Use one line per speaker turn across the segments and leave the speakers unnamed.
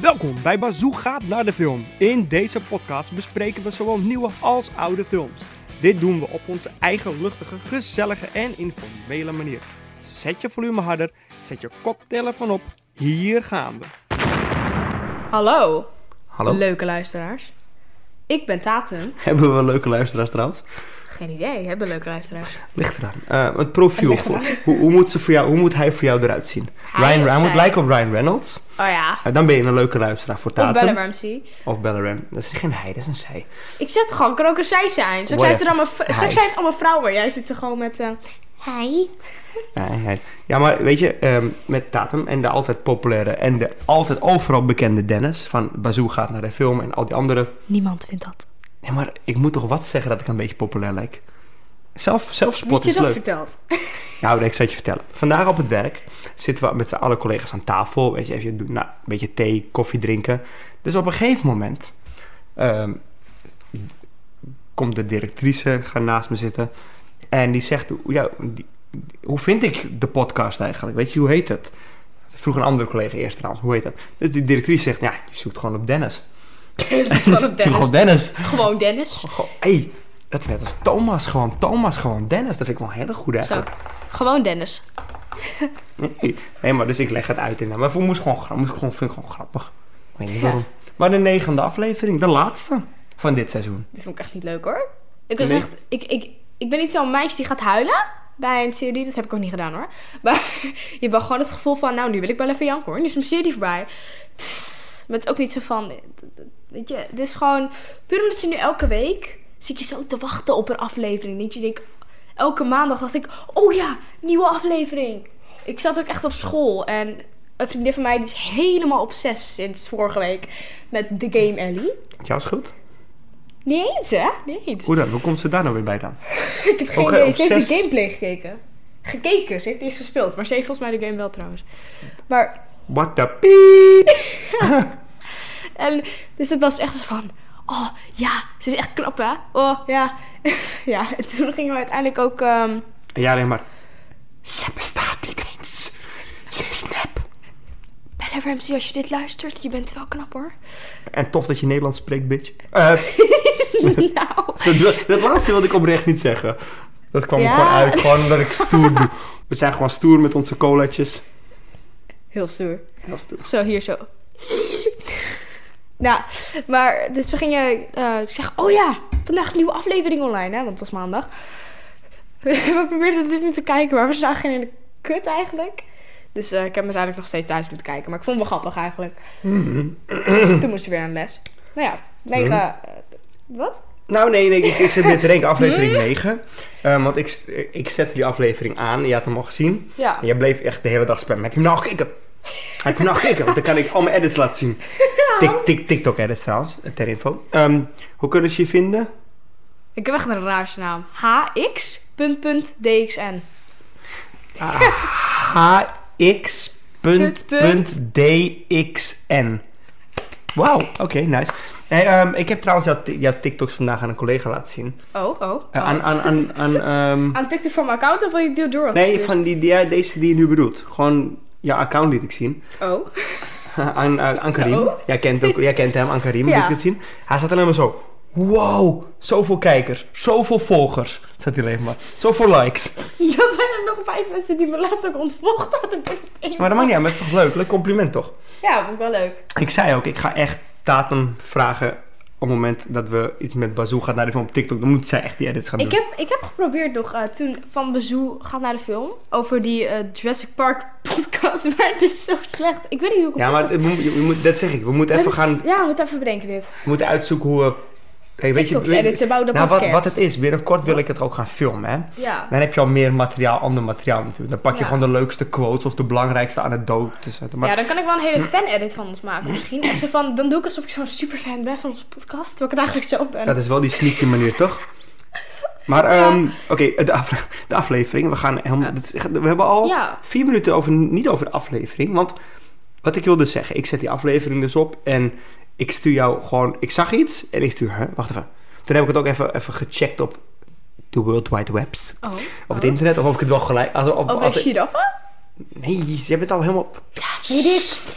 Welkom bij Bazoo gaat naar de film. In deze podcast bespreken we zowel nieuwe als oude films. Dit doen we op onze eigen luchtige, gezellige en informele manier. Zet je volume harder, zet je koptelefoon op. Hier gaan we.
Hallo,
Hallo.
leuke luisteraars. Ik ben Tatum.
Hebben we leuke luisteraars trouwens?
Geen idee, hebben leuke luisteraars.
Ligt eraan. Eh, het profiel. Voor, hoe, hoe, moet ze voor jou, hoe moet hij voor jou eruit zien?
Hij
Ryan,
of
hij moet
zij?
lijken op Ryan Reynolds.
Oh ja,
Eh, dan ben je een leuke luisteraar voor
of
Tatum.
Bella Ramsey.
Of Bella Ram. Dat is geen hij, dat is een zij.
Ik zeg het gewoon, kan ook een zij zijn. Straks zijn, ze er
Whatever.
allemaal, v- straks
Hij.
zijn het allemaal vrouwen. Jij zit er gewoon met... eh, Hi.
Ja, hij. ja maar weet je, ehm, met Tatum en de altijd populaire en de altijd overal bekende Dennis... van Bazoo gaat naar de film en al die andere...
Niemand vindt dat.
Nee, maar ik moet toch wat zeggen dat ik een beetje populair lijk? Zelf, zelfspot
Moet je
is
dat
leuk.
verteld?
Nou, ik zal het je vertellen. Vandaag op het werk zitten we met z'n alle collega's aan tafel. Weet je, even doen, nou, een beetje thee, koffie drinken. Dus op een gegeven moment ehm, komt de directrice gaan naast me zitten. En die zegt, ja, die- hoe vind ik de podcast eigenlijk? Weet je, hoe heet het? Ze Vroeg een andere collega eerst trouwens, hoe heet dat? Dus die directrice zegt, ja, je zoekt gewoon op Dennis.
Dus het is gewoon op
Zoek gewoon
Dennis.
op Dennis. Oh,
Gewoon Dennis.
Goh, hey, dat is net als Thomas gewoon. Thomas gewoon Dennis. Dat vind ik wel een hele goede
Zo,
eigenlijk.
gewoon Dennis.
Nee, nee, maar dus ik leg het uit in. Maar ik moest gewoon, gra- moest gewoon, vind ik gewoon grappig. Ik weet niet
Ja.
waarom. Maar de negende aflevering, de laatste van dit seizoen.
Dit vond ik echt niet leuk hoor. Ik was
Nee.
echt... Ik, ik, ik ben niet zo'n meisje die gaat huilen bij een serie. Dat heb ik ook niet gedaan hoor. Maar je hebt wel gewoon het gevoel van... Nou, nu wil ik wel even janken hoor. Nu is mijn serie voorbij. Tss, maar het is ook niet zo van... Weet je, dit is gewoon... Puur omdat je nu elke week... Zit je zo te wachten op een aflevering. Dat je denkt... Elke maandag dacht ik... Oh ja, nieuwe aflevering. Ik zat ook echt op school. En een vriendin van mij die is helemaal obsessief sinds vorige week. Met The Game Ellie.
Jouw schuld?
Niet eens hè? Niet eens.
Hoe dan? Hoe komt ze daar nou weer bij dan?
Ik heb geen
Oké,
idee.
op
Ze heeft de
zes-
gameplay gekeken. Gekeken. Ze heeft eerst gespeeld. Maar ze heeft volgens mij de game wel trouwens. Maar,
What the piep?
en, dus dat was echt zo van... Oh, ja. Ze is echt knap, hè? Oh, ja. ja, en toen gingen we uiteindelijk ook... ehm,
En jij alleen maar... Ze bestaat niet eens. Ze is nep.
Bella Ramsey, als je dit luistert, je bent wel knap, hoor.
En tof dat je Nederlands spreekt, bitch. Eh,
nou...
dat, wil- dat laatste wilde ik oprecht niet zeggen. Dat kwam er
Ja.
gewoon uit, gewoon omdat ik stoer doe. We zijn gewoon stoer met onze colaatjes.
Heel stoer.
Heel stoer.
Zo, hier zo. nou, maar dus we gingen eh zeggen... Oh ja, vandaag is een nieuwe aflevering online, hè? Want het was maandag. we probeerden dit niet te kijken, maar we zagen in de kut eigenlijk. Dus eh, ik heb hem uiteindelijk nog steeds thuis moeten kijken. Maar ik vond het wel grappig eigenlijk.
Mhm.
Toen moesten we weer aan de les. Nou ja, negen... eh, wat?
Nou, nee, nee, ik, ik zit weer te denken, aflevering 9. Eh, want ik, ik zette die aflevering aan, je had hem al gezien.
Ja.
En jij bleef echt de hele dag spammen. Heb je hem nou gekeken? Heb je hem nou gekeken? Want dan kan ik al mijn edits laten zien. Tik, tik, TikTok-edits trouwens, ter info. Ehm, hoe kunnen ze je vinden?
Ik heb echt een raarste naam. HX.dxn. Punt, punt.
hx.dxn. Wauw, oké, nice. Hey, ehm, ik heb trouwens jouw, ti- jouw TikToks vandaag aan een collega laten zien.
Oh, oh. oh.
Eh, aan, aan, aan, aan, ehm,
Aan TikTok van mijn account of wil je het deel door?
Nee, van die, die- ja, deze die je nu bedoelt. Gewoon jouw account liet ik zien.
Oh.
Aan, eh, aan, aan Karim.
Oh.
Jij, kent ook, jij kent hem, aan Karim
Ja.
liet ik het zien. Hij zat alleen maar zo. Wow, zoveel kijkers, zoveel volgers. Zat hij alleen maar. Zoveel likes.
Ja, zijn er nog vijf mensen die me laatst ook ontvolgd hadden. Ben ik één.
Maar dat maakt niet uit, maar het is toch leuk? Leuk compliment toch?
Ja, vond ik wel leuk.
Ik zei ook, ik ga echt Tatum vragen op het moment dat we iets met Bazoo gaan naar de film op TikTok. Dan moet zij echt die edits gaan
Ik
doen.
heb, ik heb geprobeerd nog eh, toen van bezoek gaat naar de film. Over die eh, Jurassic Park podcast. Maar het is zo slecht. Ik weet niet hoe ik het
Ja, maar het- het moet- je moet- dat zeg ik. We moeten even
Het is-
gaan
Ja, we moeten even bedenken dit.
We moeten uitzoeken hoe we... Kijk, weet
TikToks
weet-
editen, bouw dat
nou, wat,
podcast.
wat het is, binnenkort wil ik het ook gaan filmen, hè.
Ja.
Dan heb je al meer materiaal, ander materiaal natuurlijk. Dan pak je
Ja.
gewoon de leukste quotes of de belangrijkste anekdotes. uit. Maar
Ja, dan kan ik wel een hele fan-edit van ons maken. Misschien. En zo van, dan doe ik alsof ik zo'n superfan ben van onze podcast. Terwijl ik het eigenlijk zo ben.
dat is wel die sneaky manier, toch? Maar, ehm, oké, de, af- de aflevering. We, gaan helemaal, dit is echt- we hebben al
Ja.
vier minuten over, niet over de aflevering. Want wat ik wilde zeggen, ik zet die aflevering dus op en ik stuur jou gewoon... Ik zag iets en ik stuur haar. Wacht even. Toen heb ik het ook even, even gecheckt op de World Wide Webs.
Oh.
Op het internet of of ik het wel gelijk. Als, of,
Over
als-
de giraffen?
nee, jij bent al helemaal.
Weet ik.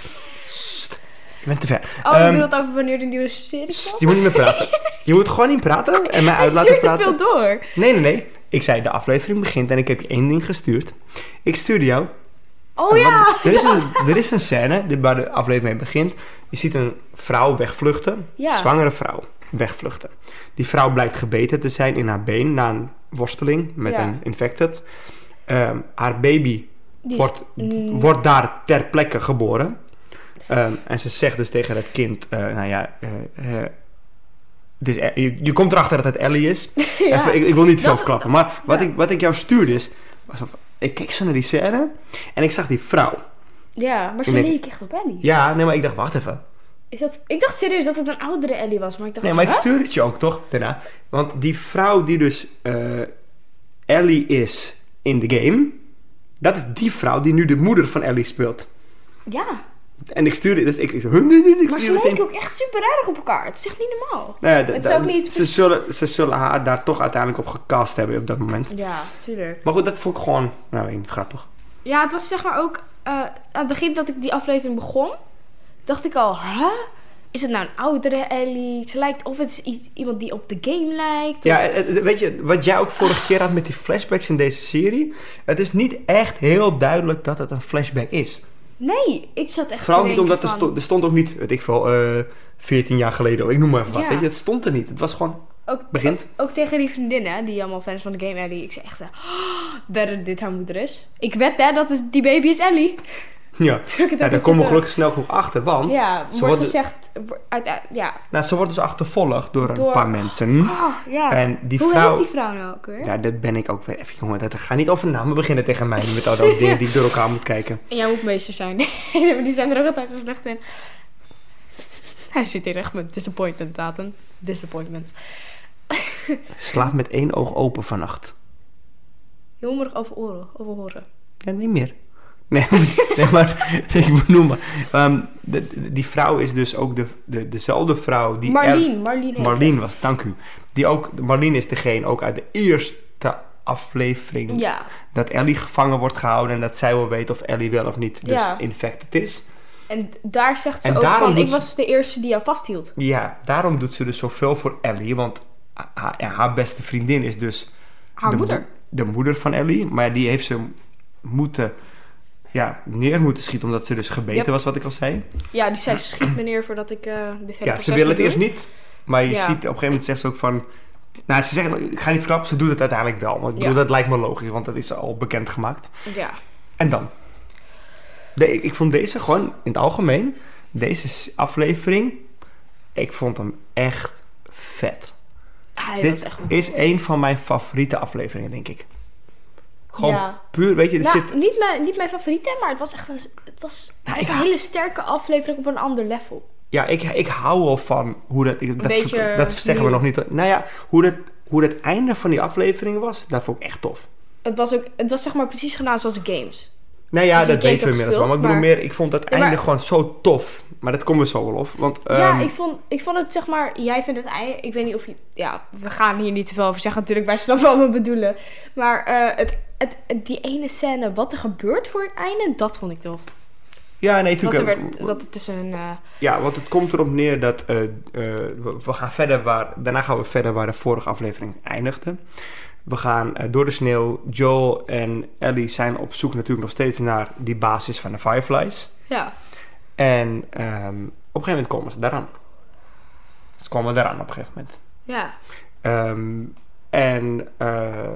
Je bent te ver.
Oh, ik
Ehm,
bedoel het over wanneer de nieuwe serie
sst,
komt.
je moet niet meer praten. Je moet gewoon niet praten en mij
Hij
uit laten
stuurt te veel
praten.
door.
Nee, nee, nee. Ik zei, de aflevering begint en ik heb je één ding gestuurd. Ik stuurde jou
Oh ja!
Want Er is, een, er is een scène die- waar de aflevering mee begint. Je ziet een vrouw wegvluchten.
Ja.
Zwangere vrouw wegvluchten. Die vrouw blijkt gebeten te zijn in haar been na een worsteling met
Ja.
een infected. Ehm, haar baby
Die is-
wordt,
Mm.
wordt daar ter plekke geboren. Ehm, en ze zegt dus tegen het kind, eh, nou ja, eh, eh, het is, E- je, je komt erachter dat het Ellie is.
Ja.
Even, ik, ik wil niet veel
Dat-
verklappen, maar wat,
ja.
ik, wat ik jou stuurde is, was of- ik keek zo naar die scène en ik zag die vrouw.
Ja, maar ze
Ik denk-
leek echt op Ellie.
Ja, nee, maar ik dacht, wacht even.
Is dat... Ik dacht serieus dat het een oudere Ellie was, maar ik dacht...
Nee, maar ik
huh?
stuurde het je ook toch daarna. Want die vrouw die dus eh, Ellie is in de game, dat is die vrouw die nu de moeder van Ellie speelt.
Ja,
En ik stuurde, dus ik, ik, huh, nee, nee, nee, ik
maar ze
stuurde het
leken
in.
ook echt super aardig op elkaar. Het is echt niet normaal.
Nou ja, d-
Het
d-
is ook niet-
Ze zullen, ze zullen haar daar toch uiteindelijk op gecast hebben op dat moment.
Ja, tuurlijk.
Maar goed, dat vond ik gewoon, nou, ik- grappig.
Ja, het was zeg maar ook... eh, aan het begin dat ik die aflevering begon, dacht ik al... Huh? Is het nou een oudere Ellie? Ze lijkt... Of het is i- iemand die op de game lijkt?
Ja, eh, eh, weet je, wat jij ook vorige keer had met die flashbacks in deze serie. Het is niet echt heel duidelijk dat het een flashback is.
Nee, ik zat echt
Vooral
te
niet
denken
omdat er,
van-
stond, er stond ook niet, weet ik veel, eh 14 jaar geleden, of ik noem maar even wat.
Ja.
Weet je, het stond er niet. Het was gewoon,
Ook,
begint.
ook tegen die vriendinnen, die allemaal fans van de game Ellie. Ik zei echt, eh, oh, better dat dit haar moeder is. Ik wed hè, dat is, die baby is Ellie.
Ja,
Zou ik het
ja
ook
daar
niet
komen we
goed
gelukkig snel genoeg achter, want
doen? Ja,
ze,
wordt
worden,
gezegd... wo- uite- ja.
nou, ze wordt dus achtervolgd door een
Door-
paar mensen.
Ah, ja.
Hm? En die
Hoe
vrouw-
heet die vrouw nou ook weer?
Ja, dat ben ik ook weer even, jongen, dat gaat niet over namen beginnen tegen mij met al die dingen die ik door elkaar moet kijken.
En jij moet meester zijn. die zijn er ook altijd zo slecht in. Hij zit hier echt met disappointment, Taten. Disappointment.
Slaap met één oog open vannacht.
Heel moeilijk over oren, over horen.
Ja, niet meer. Nee, maar- nee maar ik moet noemen. Ehm, de- de- die vrouw is dus ook de, de, dezelfde vrouw die... er-
Marleen, Marleen heet
Marleen was, dank u. Die ook, Marleen is degene ook uit de eerste
ze.
aflevering
Ja.
dat Ellie gevangen wordt gehouden en dat zij wel weet of Ellie wel of niet dus
Ja.
infected is.
En daar zegt ze
En
ook
daarom
van,
doet
ik
ze-
was de eerste die jou vasthield.
Ja, daarom doet ze dus zoveel voor Ellie, want haar, ja, haar beste vriendin is dus
Haar
de, mo-
moeder.
de moeder van Ellie, maar die heeft ze moeten ja, neer moeten schieten omdat ze dus gebeten
Yep.
was, wat ik al zei.
Ja, die zei, schiet meneer voordat ik eh, dit hele
Ja, ze
proces
wil het
moet
eerst
doen."
niet, maar je
Ja.
ziet op een gegeven moment zegt ze ook van... Nou, ze zegt, ik ga niet verklappen, ze doet het uiteindelijk wel. Want ik
Ja.
bedoel, dat lijkt me logisch, want dat is al bekendgemaakt.
Ja.
En dan? De- ik vond deze gewoon in het algemeen, deze s- aflevering, ik vond hem echt vet.
Hij was
Dit
echt goed.
is een van mijn favoriete afleveringen, denk ik. Gewoon
Ja.
puur, weet je, er
Nou,
zit...
niet, mijn, niet mijn favoriete, maar het was echt een, het was,
Nou,
het was
ik-
een hele sterke aflevering op een ander level.
Ja, ik, ik hou al van hoe dat... ik- Dat,
beetje
ver- dat zeggen we
nieuw.
nog niet. Nou ja, hoe dat, hoe dat einde van die aflevering was, dat vond ik echt tof.
Het was, ook, het was zeg maar precies gedaan zoals de games.
Nou ja,
Dus je
dat
kent
weten we
ook
inmiddels wel. Maar ik bedoel
maar-
meer, ik vond dat
maar-
einde gewoon zo tof. Maar dat komen we zo wel op. Want,
ja,
ehm,
ik vond, ik vond het zeg maar... Jij vindt het ei... Ik weet niet of je... Ja, we gaan hier niet te veel over zeggen natuurlijk. Wij snappen wat we bedoelen. Maar eh, het, het, het- die ene scène, wat er gebeurt voor het einde, dat vond ik tof.
ja, nee,
Dat er,
natuurlijk.
werd, dat er tussen een... eh,
Ja, want het komt erop neer dat eh, eh, we we gaan verder waar. Daarna gaan we verder waar de vorige aflevering eindigde. We gaan eh, door de sneeuw. Joel en Ellie zijn op zoek natuurlijk nog steeds naar die basis van de Fireflies.
ja.
En ehm, op een gegeven moment komen ze daaraan. Ze komen daaraan op een gegeven moment.
Ja.
Ehm, en eh,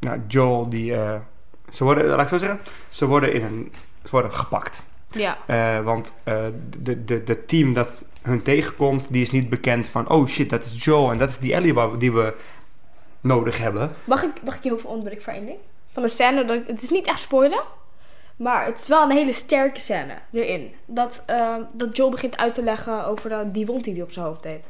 nou, Joel die. eh, ze worden, laat ik het zo zeggen, ze worden, in een, ze worden gepakt.
Ja.
Eh, want eh, de, de, de team dat hun tegenkomt, die is niet bekend van... Oh shit, dat is Joel en dat is die Ellie waar we- die we nodig hebben.
Mag ik, mag ik je heel veel onderbreken voor één ding? Van een scène, dat, het is niet echt spoiler, maar het is wel een hele sterke scène erin. Dat, ehm, dat Joel begint uit te leggen over dat, die wond die hij op zijn hoofd deed.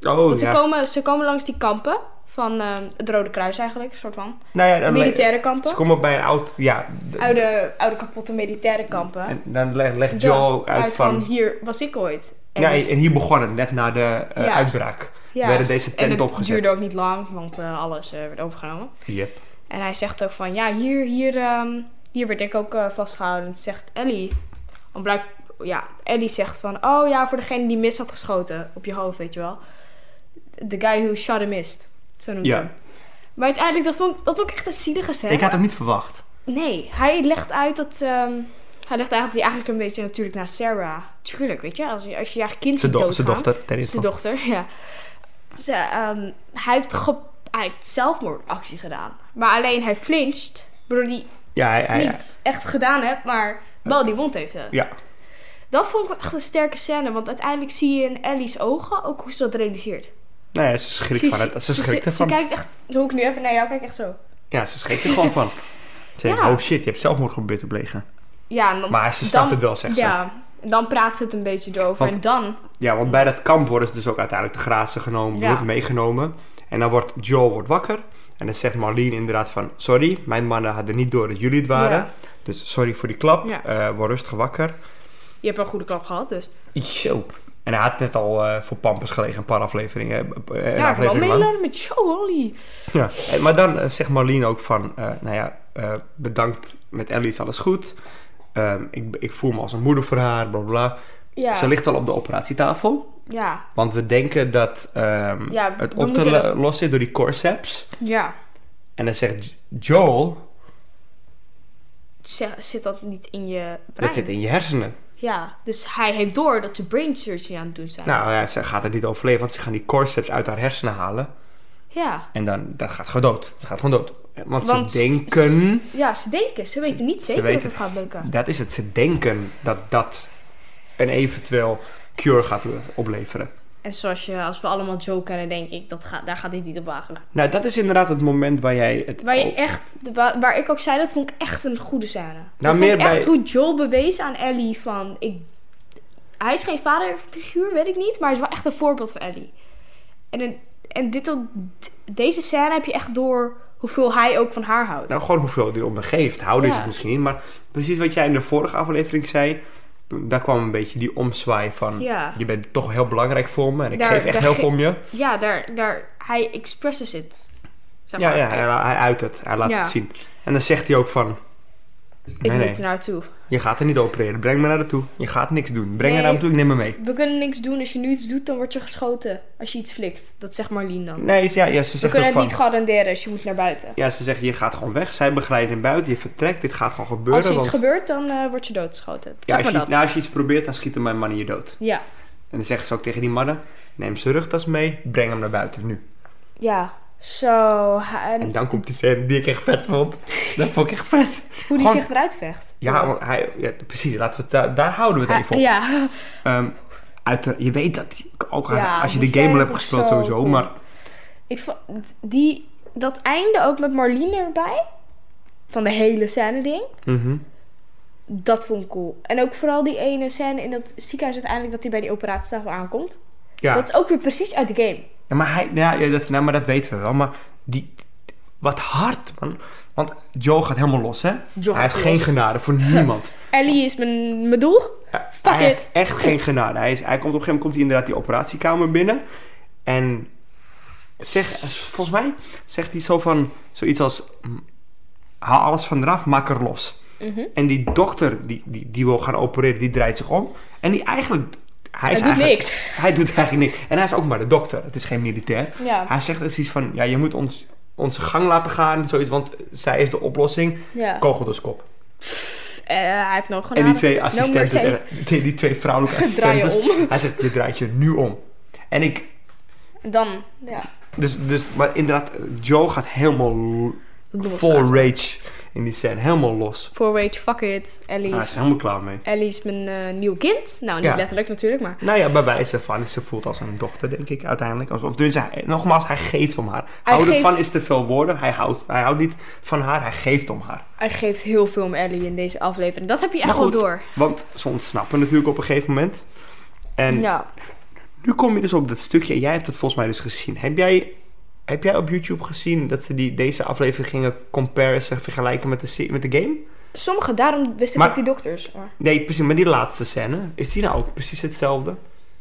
Oh
Want ze, komen, ze komen langs die kampen van ehm, het Rode Kruis eigenlijk, soort van.
Nou ja, dan le-
Militaire
ze
kampen.
komen bij een oud... Ja, d-
Oude, oude kapotte militaire kampen.
en dan le- legt
Ja,
Joel ook uit, van...
hier was ik ooit. En,
ja, en hier begon het, net na de eh,
Ja.
uitbraak.
ja.
werden deze
En
tent
het
opgezet.
duurde ook niet lang, want eh, alles eh, werd overgenomen.
Yep.
En hij zegt ook van, ja, hier, hier, ehm, hier werd ik ook eh, vastgehouden. En toen zegt Ellie, want blijk- ja, Ellie zegt van, oh ja, voor degene die mis had geschoten op je hoofd, weet je wel. The guy who shot a mist. Zo noemt
Ja.
hij hem. Maar uiteindelijk, dat vond, dat vond ik echt een zielige scène.
Ik had hem niet verwacht.
Nee, hij legt uit dat... ehm, hij legt uit dat hij eigenlijk een beetje natuurlijk naar Sarah... Tuurlijk, weet je, als je als je, eigen kind
Zijn
ziet
do- zijn
doodgaan.
dochter, Terry.
Zijn dochter, ja. Ze, ehm, hij, heeft ge- hij heeft zelfmoordactie gedaan. Maar alleen hij flincht, waardoor hij
Ja, hij, hij-
niet echt gedaan hebt, maar wel die wond heeft. eh.
ja.
Dat vond ik echt een sterke scène, want uiteindelijk zie je in Ellie's ogen ook hoe ze dat realiseert.
Nou ja, ze schrikt, van het, ze schrikt
ze
ervan.
kijkt echt, hoe ik nu even naar jou kijk, echt zo.
Ja, ze schrikt er gewoon van. Ze denkt,
Ja.
oh shit, je hebt zelfmoord geprobeerd te plegen.
Ja, en dan,
Maar ze snapt
dan-
het wel, zegt ze.
Ja, en dan praat ze het een beetje erover
Want-
en dan...
Ja, want bij dat kamp worden ze dus ook uiteindelijk de grazen genomen,
Ja.
wordt meegenomen. En dan wordt Joel wordt wakker. En dan zegt Marleen inderdaad van, sorry, mijn mannen hadden niet door dat jullie het waren.
Ja.
Dus sorry voor die klap,
Ja.
Eh, word rustig wakker.
Je hebt wel een goede klap gehad, dus...
Zo. En hij had net al eh, voor Pampers gelegen, een paar afleveringen. eh, eh, Een
ja, ik wil
aflevering lang.
meelopen met show, Holly.
Ja. En- Maar dan eh, zegt Marleen ook van, eh, nou ja, eh, bedankt, met Ellie is alles goed. Ehm, ik, ik voel me als een moeder voor haar, bla bla, bla.
Ja,
Ze ligt al op de operatietafel.
ja,
Want we denken dat ehm,
Ja,
het
we
op te
moeten-
lo- lossen is door die corseps.
ja.
En dan zegt J- Joel,
Ze- Zit dat niet in je brein?
dat zit in je hersenen.
Ja, dus hij heeft door dat ze brain surgery aan het doen zijn.
Nou ja, ze gaat het niet overleven, want ze gaan die corseps uit haar hersenen halen.
ja.
En dan dat gaat gewoon dood. Dat gaat gewoon dood. Eh, Want,
Want
ze denken,
Ja, ze denken. Ze weten niet
ze
zeker
weten-
of het gaat lukken.
dat is het, ze denken dat dat een eventueel cure gaat le- opleveren.
En zoals je, als we allemaal Joe kennen, denk ik, dat gaat, daar gaat dit niet op wagen.
Nou, dat is inderdaad het moment waar jij het...
Waar, je
oh,
echt, waar, waar ik ook zei, dat vond ik echt een goede scène. Nou, dat
meer
vond ik echt
bij-
hoe Joe bewees aan Ellie van... Ik, hij is geen vaderfiguur, weet ik niet, maar hij is wel echt een voorbeeld voor Ellie. En, in- en dit, tot- deze scène heb je echt door hoeveel hij ook van haar houdt.
Nou, gewoon hoeveel die om me geeft. Houden is
Ja.
het misschien niet. Maar precies wat jij in de vorige aflevering zei. toen- Daar kwam een beetje die omzwaai van...
Ja.
Je bent toch heel belangrijk voor me. En ik
Daar-
geef echt
daar
heel
ge-
veel om je.
Ja, daar, daar, hij expresses het. Zeg
Ja,
maar.
ja hij, hij uit het. Hij laat
Ja.
het zien. En dan zegt hij ook van...
Ik
Nee, nee.
moet er naartoe.
Je gaat er niet opereren. Breng me naartoe. Je gaat niks doen. Breng me
Nee.
naartoe. Ik neem me mee.
We kunnen niks doen. Als je nu iets doet, dan word je geschoten. Als je iets flikt. Dat zegt Marleen dan.
Nee, ja, ja, ze
We
zegt
kunnen
ook
het
van...
niet garanderen, dus je moet naar buiten.
Ja, ze zegt je gaat gewoon weg. Zij begeleidt hem buiten. Je vertrekt. Dit gaat gewoon gebeuren.
Als er iets
want,
gebeurt, dan eh, word je doodgeschoten.
ja,
zeg
als,
maar
je,
dat.
nou, als je iets probeert, dan schieten mijn mannen je dood.
Ja.
En dan zegt ze ook tegen die mannen... Neem zijn rugtas mee. Breng hem naar buiten. Nu.
Ja. Zo.
En
en
dan komt die scène die ik echt vet vond. Dat vond ik echt vet.
hoe die
gewoon-
zich eruit vecht.
Ja, want hij, ja, precies. Laten we het, daar, daar houden we het
Hij-
even op.
Ja.
Ehm, uit de- je weet dat, ook
Ja,
als je
die
de game al
scène
hebt
vond ik
gespeeld
zo
sowieso,
cool.
maar
Ik vond die, dat einde ook met Marleen erbij. Van de hele scène ding.
mhm.
Dat vond ik cool. En ook vooral die ene scène in dat ziekenhuis uiteindelijk dat hij bij die operatietafel aankomt.
ja.
Dat is ook weer precies uit de game.
Ja, maar hij, nou, ja, dat, nou, maar dat weten we wel, maar die, wat hard, man. Want Joe gaat helemaal los, hè?
gaat
hij heeft
los.
geen genade voor niemand.
Ellie is mijn, mijn doel.
Ja,
Fuck
hij
it.
heeft echt geen genade. Hij, is, hij komt op een gegeven moment komt hij inderdaad die operatiekamer binnen. En zeg, volgens mij zegt hij zo van zoiets als: "Mm, haal alles van eraf, maak er los.
Mhm.
En die dokter die, die, die wil gaan opereren, die draait zich om. En die eigenlijk. Hij, is
Hij doet
eigenlijk-
niks.
Hij doet eigenlijk niks. En hij is ook maar de dokter. Het is geen militair.
Ja.
Hij zegt dus iets van: ja, je moet ons, onze gang laten gaan. Zoiets, want zij is de oplossing.
Ja. Nou,
Kogel dus kop.
Eh, hij heeft nog genade.
En die twee
No
assistenten,
mercy.
zeggen- die, die twee vrouwelijke
Draai je
assistenten.
om.
Hij zegt, je draait je nu om. En ik,
Dan, ja.
dus, dus maar inderdaad, Joe gaat helemaal l-
Los
full
eigenlijk.
rage in die scène, helemaal los.
Four Rage, fuck it. Ellie
Hij is
is,
er helemaal klaar mee.
Ellie is mijn eh, nieuw kind. Nou, niet
Ja.
letterlijk natuurlijk, maar
Nou ja, bij wijze van, ze voelt als een dochter, denk ik, uiteindelijk. Alsof, of tenminste, hij- nogmaals, hij geeft om haar. Houden
geeft-
van is te veel woorden, hij houdt, hij houdt niet van haar, hij geeft om haar.
hij geeft heel veel om Ellie in deze aflevering. Dat heb je echt
Maar
wel
goed,
door.
Want ze ontsnappen natuurlijk op een gegeven moment. En
Ja.
Nu kom je dus op dat stukje. en Jij hebt het volgens mij dus gezien. Heb jij, heb jij op YouTube gezien dat ze die, deze aflevering gingen comparen, zeg, vergelijken met de, se- met de game?
Sommige, daarom wist ik
Maar-
ook die dokters. maar-
Nee, precies. Maar die laatste scène, is die nou ook precies hetzelfde?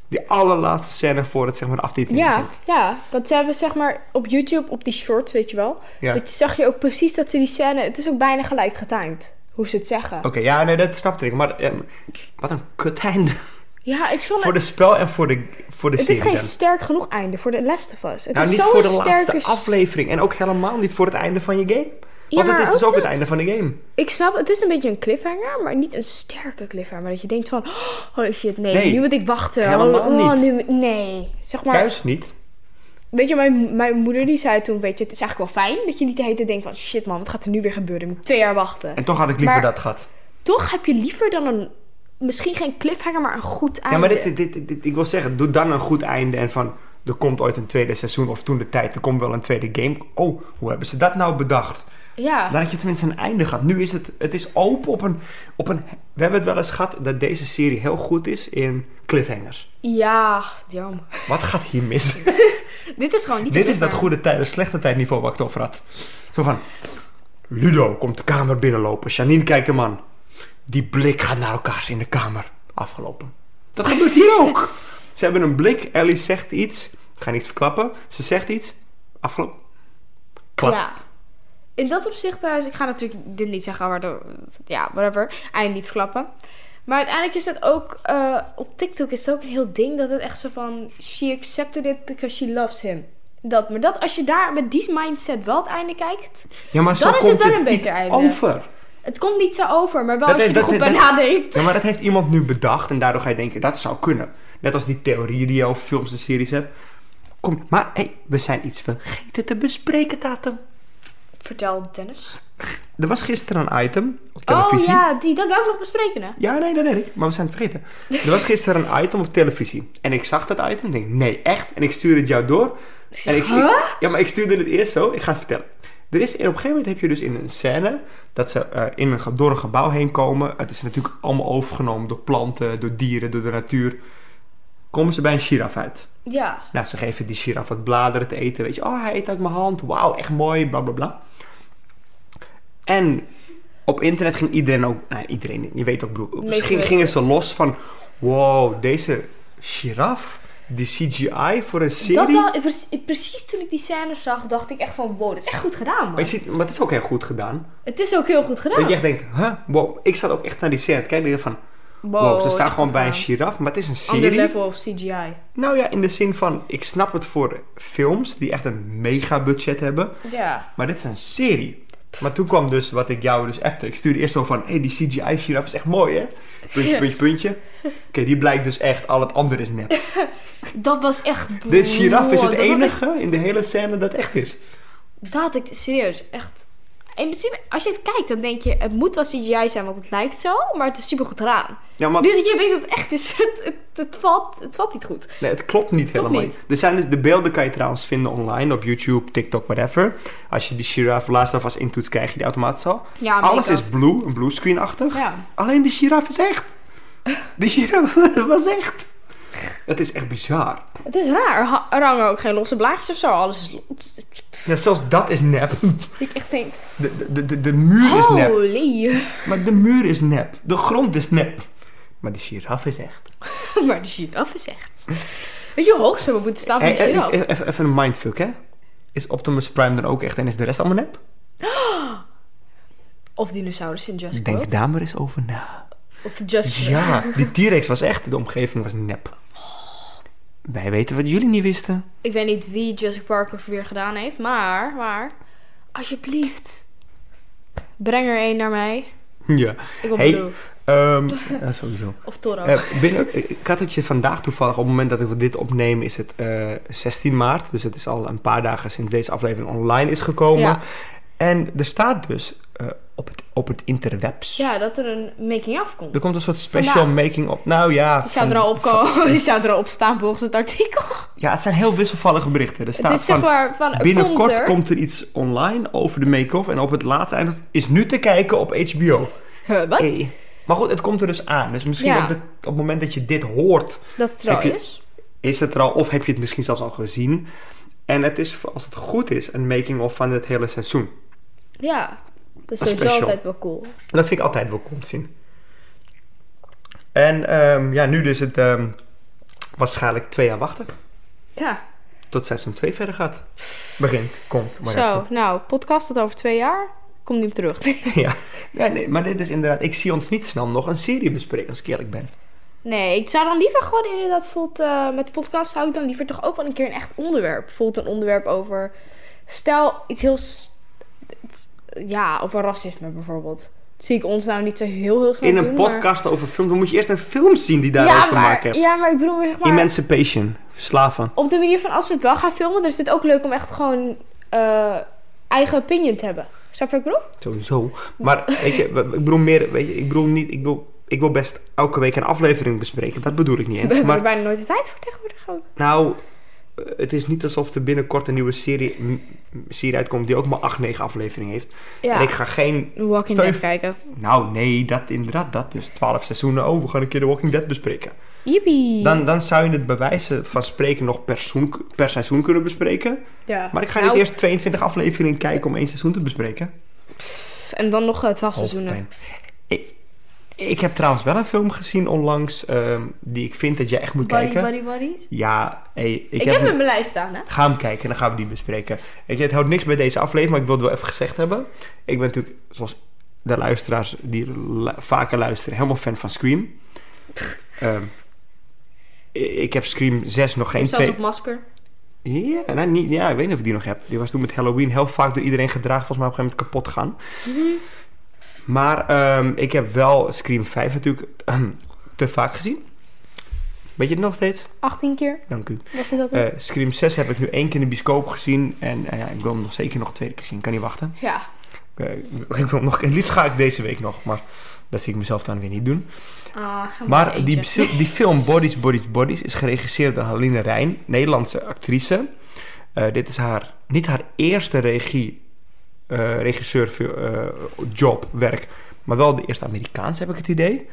Die allerlaatste scène voor het, zeg maar, de aftiteling
Ja,
begint.
ja, want ze hebben zeg maar op YouTube, op die shorts, weet je wel.
Ja.
Dat je, zag je ook precies dat ze die scène, het is ook bijna gelijk getimed. Hoe ze het zeggen.
Oké, ja, nee, dat snapte ik. Maar ehm, wat een kut einde.
Ja, ik vond
voor
het...
de spel en voor de, voor de
Het
serie
is geen
dan.
sterk genoeg einde voor de Last of Us. Het
Nou,
is
niet
zo'n
voor de
sterke...
laatste
s-
aflevering. En ook helemaal niet voor het einde van je game.
Ja,
Want
maar
het is dus
ook
ook het
dat.
einde van de game.
Ik snap, het is een beetje een cliffhanger, maar niet een sterke cliffhanger. Dat je denkt van, oh, holy shit, nee,
Nee,
nu moet ik wachten.
helemaal
oh, oh,
niet.
nu- nee, zeg maar.
Juist niet.
Weet je, mijn, mijn moeder die zei toen, weet je, het is eigenlijk wel fijn dat je niet de hele tijd denkt van, shit man, wat gaat er nu weer gebeuren? Ik moet twee jaar wachten.
En toch had ik liever
Maar-
dat gehad.
Toch heb je liever dan een, misschien geen cliffhanger, maar een goed
Ja,
einde.
maar dit, dit, dit- dit- ik wil zeggen, doe dan een goed einde. En van, er komt ooit een tweede seizoen. Of toen de tijd, er komt wel een tweede game. Oh, hoe hebben ze dat nou bedacht?
ja.
Dan dat je tenminste een einde gaat. Nu is het, het is open op een, op een... We hebben het wel eens gehad dat deze serie heel goed is in cliffhangers.
ja, jam.
Wat gaat hier mis?
Dit is gewoon niet
Dit
een
is dat
cliffhanger.
goede tijd, dat slechte tijdniveau waar ik het over had. Zo van, Ludo komt de kamer binnenlopen. Janine kijkt hem aan. Die blik gaat naar elkaar in de kamer. Afgelopen. Dat gebeurt hier ook. Ze hebben een blik, Ellie zegt iets. Ik ga niets verklappen. Ze zegt iets. Afgelopen. Klap.
Ja. In dat opzicht trouwens, ik ga natuurlijk dit niet zeggen, waardoor, ja, whatever, eind niet verklappen. Maar uiteindelijk is dat ook, eh, op TikTok is het ook een heel ding dat het echt zo van, she accepted it because she loves him. Dat, maar dat, als je daar met die mindset wel het einde kijkt,
Ja, maar
Dan
zo
is
komt
het wel
het
een
niet
beter einde.
over.
het komt niet zo over, maar wel
Dat
als je
is-
er
dat-
goed bij
dat-
nadenkt.
Ja, maar dat heeft iemand nu bedacht en daardoor ga je denken, dat zou kunnen. Net als die theorie die je over films en series hebt. Kom, maar hey, we zijn iets vergeten te bespreken, Tatum.
Vertel Dennis.
Er was gisteren een item op televisie.
Oh ja, die, dat wil ik nog bespreken hè.
Ja, nee, dat weet ik, maar we zijn het vergeten. Er was gisteren een item op televisie. En ik zag dat item en denk, nee, echt? En ik stuurde het jou door. En ik,
Huh?
ja, maar ik stuurde het eerst zo. Ik ga het vertellen. Er is, en op een gegeven moment heb je dus in een scène dat ze eh, in een, ge- door een gebouw heen komen. Het is natuurlijk allemaal overgenomen door planten, door dieren, door de natuur. Komen ze bij een giraf uit.
Ja.
Nou, ze geven die giraf wat bladeren te eten. Weet je, oh, hij eet uit mijn hand. Wauw, echt mooi, bla bla bla. En op internet ging iedereen ook, nou, iedereen, niet, je weet ook, broer.
Meeste
Ging,
weten
gingen ze los van, wow, deze giraf, die CGI voor een serie.
Dat, dacht- precies- precies toen ik die scène zag, dacht ik echt van, wow, dat is echt goed gedaan
maar,
man.
je ziet, maar het is ook heel goed gedaan.
Het is ook heel goed gedaan.
Dat je echt denkt, huh, wow. Ik zat ook echt naar die scène te kijken. en dacht van, wow, ze
is
staan
echt
gewoon
goed
bij een
gedaan.
giraf, maar het is een serie.
Ander level of CGI.
Nou ja, in de zin van, ik snap het voor films die echt een mega budget hebben.
Ja.
Maar dit is een serie. Maar toen kwam dus wat ik jou dus appte. Ik stuurde eerst zo van, hé, hey, die CGI-giraf is echt mooi, hè? Puntje,
Ja.
puntje, puntje. Oké, die blijkt dus echt, al het andere is nep.
Dat was echt...
Dit giraf is het
Wow, dat had ik-
enige in de hele scène dat echt is.
Dat had ik serieus echt... In principe, als je het kijkt, dan denk je... Het moet wel CGI zijn, want het lijkt zo. Maar het is super goed gedaan.
Ja, maar
Nu dat je weet dat het echt is... Het, het, het valt, het valt niet goed.
nee, het klopt niet helemaal.
niet.
Er zijn dus, de beelden kan je trouwens vinden online, op YouTube, TikTok, whatever. Als je die giraf laatst alvast intoetst, krijg je die automatisch al.
Ja,
Alles
make-up.
is blue, een bluescreen-achtig.
Ja.
Alleen de giraf is echt. De giraf was echt. Het is echt bizar.
Het is raar. Er ha- Er hangen ook geen losse blaadjes of zo. Alles is... los.
Ja, zelfs dat is nep.
Ik echt denk...
De, de- de, de, de muur is nep.
Holy.
Maar de muur is nep. De grond is nep. Maar de giraf is echt.
maar de giraf is echt... Weet je hoe hoog ze moeten staan
Hey,
van de
eh, is-
giraf?
eh, even, even een mindfuck, hè? Is Optimus Prime dan ook echt en is de rest allemaal nep?
Of dinosaurus in Jurassic
Denk
World.
daar maar eens over na.
Of de Jurassic
Ja, die T-Rex was echt. De omgeving was nep. Wij weten wat jullie niet wisten.
Ik weet niet wie Jurassic Park ook weer gedaan heeft, maar, maar, alsjeblieft, breng er één naar mij.
Ja.
Ik wil
Hey,
Blue.
ehm, ja, sowieso.
Of Toro.
Eh, binnen, ik had het je vandaag toevallig, op het moment dat we dit opnemen, is het eh, 16 maart. Dus het is al een paar dagen sinds deze aflevering online is gekomen.
Ja.
En er staat dus eh, op, het, op het interwebs.
ja, dat er een making-of komt.
Er komt een soort special
Vandaag.
making op. Nou ja.
Die zou
van-
er al op
van-
komen, die zou er al op staan volgens het artikel.
ja, het zijn heel wisselvallige berichten. Er staat
het is zeg
van,
maar van, er
binnenkort
komt er.
iets online over de make-off. En op het laatste einde is nu te kijken op HBO.
Huh, wat?
Hey. Eh, Maar goed, het komt er dus aan. Dus misschien
Ja.
op, dit- op het moment dat je dit hoort,
dat het er al
heb je-
is?
is het er al of heb je het misschien zelfs al gezien. En het is, als het goed is, een making-of van het hele seizoen.
Ja, dat is
Een
sowieso
special.
altijd wel cool.
Dat vind ik altijd wel cool om te zien. En ehm, ja, nu dus het ehm, waarschijnlijk twee jaar wachten.
Ja,
Tot seizoen 2 verder gaat. Begin, komt. Maar
zo, nou, podcast tot over twee jaar. Komt niet op terug.
ja. Nee, nee, maar dit is inderdaad... Ik zie ons niet snel nog een serie bespreken, als ik eerlijk ben.
Nee, ik zou dan liever gewoon inderdaad bijvoorbeeld eh, met de podcast zou ik dan liever toch ook wel een keer een echt onderwerp. Bijvoorbeeld een onderwerp over, stel iets heel, s- het- ja, over racisme bijvoorbeeld. Dat zie ik ons nou niet zo heel heel snel
In een
doen, maar-
podcast over films, dan moet je eerst een film zien die daarover
ja,
te
maar,
maken heeft.
Ja, maar ik bedoel zeg maar,
Emancipation. Slaven.
op de manier van als we het wel gaan filmen, dan is het ook leuk om echt gewoon eh, eigen opinion te hebben. Snap je wat ik bedoel?
Sowieso. Maar weet je, ik bedoel meer, weet je, ik bedoel niet, ik wil, ik wil best elke week een aflevering bespreken. Dat bedoel ik niet
We
eens.
hebben
Maar
er bijna nooit de tijd voor tegenwoordig ook.
nou, eh, het is niet alsof er binnenkort een nieuwe serie, m- serie uitkomt die ook maar 8, 9 afleveringen heeft.
Ja,
En ik ga geen,
Walking
Stel je
Dead kijken.
nou nee, dat inderdaad, dat dus 12 seizoenen. Oh, we gaan een keer The Walking Dead bespreken.
Yippie.
Dan, dan zou je het bewijzen van spreken nog per, seizoen- per seizoen kunnen bespreken.
ja.
Maar ik ga
Nou,
niet eerst 22 afleveringen kijken om één seizoen te bespreken.
pff, En dan nog eh, twaalf seizoenen.
Hoofdpijn. Ik, ik heb trouwens wel een film gezien onlangs ehm, die ik vind dat jij echt moet kijken.
Buddy, buddies.
Ja, hey, ik,
Ik,
heb,
heb hem
hem.
in mijn lijst staan, hè?
Ga hem kijken en dan gaan we die bespreken. Ik, het houdt niks bij deze aflevering, maar ik wil het wel even gezegd hebben. Ik ben natuurlijk, zoals de luisteraars die lu- vaker luisteren, helemaal fan van Scream. Ehm, i- ik heb Scream 6 nog geen
Zelfs
twee...
op masker.
Ja, nou, niet, ja, ik weet niet of ik die nog heb. Die was toen met Halloween heel vaak door iedereen gedragen. Volgens mij op een gegeven moment kapot gaan.
Mhm.
Maar ehm, ik heb wel Scream 5 natuurlijk ehm, te vaak gezien. Weet je het nog steeds?
18 keer
Dank u.
was het dat?
Eh, Scream 6 heb ik nu één keer in de bioscoop gezien. En eh, ja, ik wil hem nog zeker nog een tweede keer zien. Ik kan niet wachten.
ja.
Eh, ik wil hem nog, het liefst ga ik deze week nog. Maar dat zie ik mezelf dan weer niet doen.
Ah, hij was
Maar
eentje.
die, die film Bodies, Bodies, Bodies is geregisseerd door Haline Rijn, Nederlandse actrice. Eh, dit is haar, niet haar eerste regie, eh, regisseur eh, job, werk, maar wel de eerste Amerikaans heb ik het idee.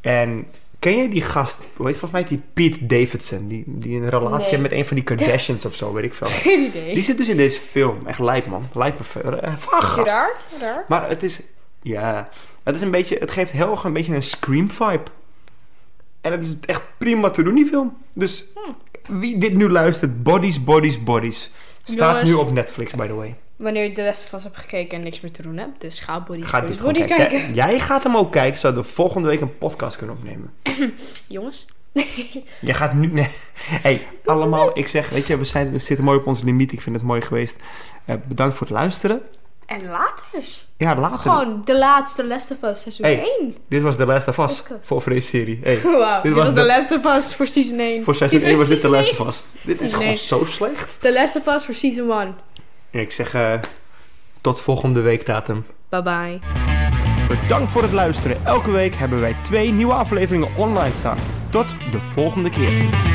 En ken jij die gast, hoe heet volgens mij die Pete Davidson, die, die een relatie
Nee.
heeft met een van die Kardashians of zo, weet ik veel.
Geen idee.
Die zit dus in deze film, echt lijp man, lijp uh,
Zie je
gast.
daar? Daar?
Maar het is, ja, het is een beetje, het geeft heel erg een beetje een scream vibe. En het is echt prima te doen, die film. Dus
Hm.
wie dit nu luistert, Bodies, Bodies, Bodies. Staat
Jongens.
nu op Netflix, by the way.
Wanneer je de rest vast hebt gekeken en niks meer te doen hebt. Dus ga Body
Ga
Body
dit gewoon
Body
kijken.
kijken.
Jij- Jij gaat hem ook kijken, zodat we volgende week een podcast kunnen opnemen.
Jongens.
Jij gaat nu... Nee. hey, allemaal, ik zeg, weet je, we, zijn, we zitten mooi op onze limiet. Ik vind het mooi geweest. Eh, bedankt voor het luisteren.
En later.
Ja, later.
Gewoon de laatste Last of Us seizoen
Hey.
1.
Dit was de Last of Us
Oké.
voor deze serie. Hey.
Wauw. Dit was,
was
de
de-
Last of Us voor season 1.
Voor seizoen 1 was dit de Last of Us. Dit is
Nee.
gewoon zo slecht.
De Last of Us voor season 1.
En ik zeg eh, tot volgende week datum.
Bye bye.
Bedankt voor het luisteren. Elke week hebben wij twee nieuwe afleveringen online staan. Tot de volgende keer.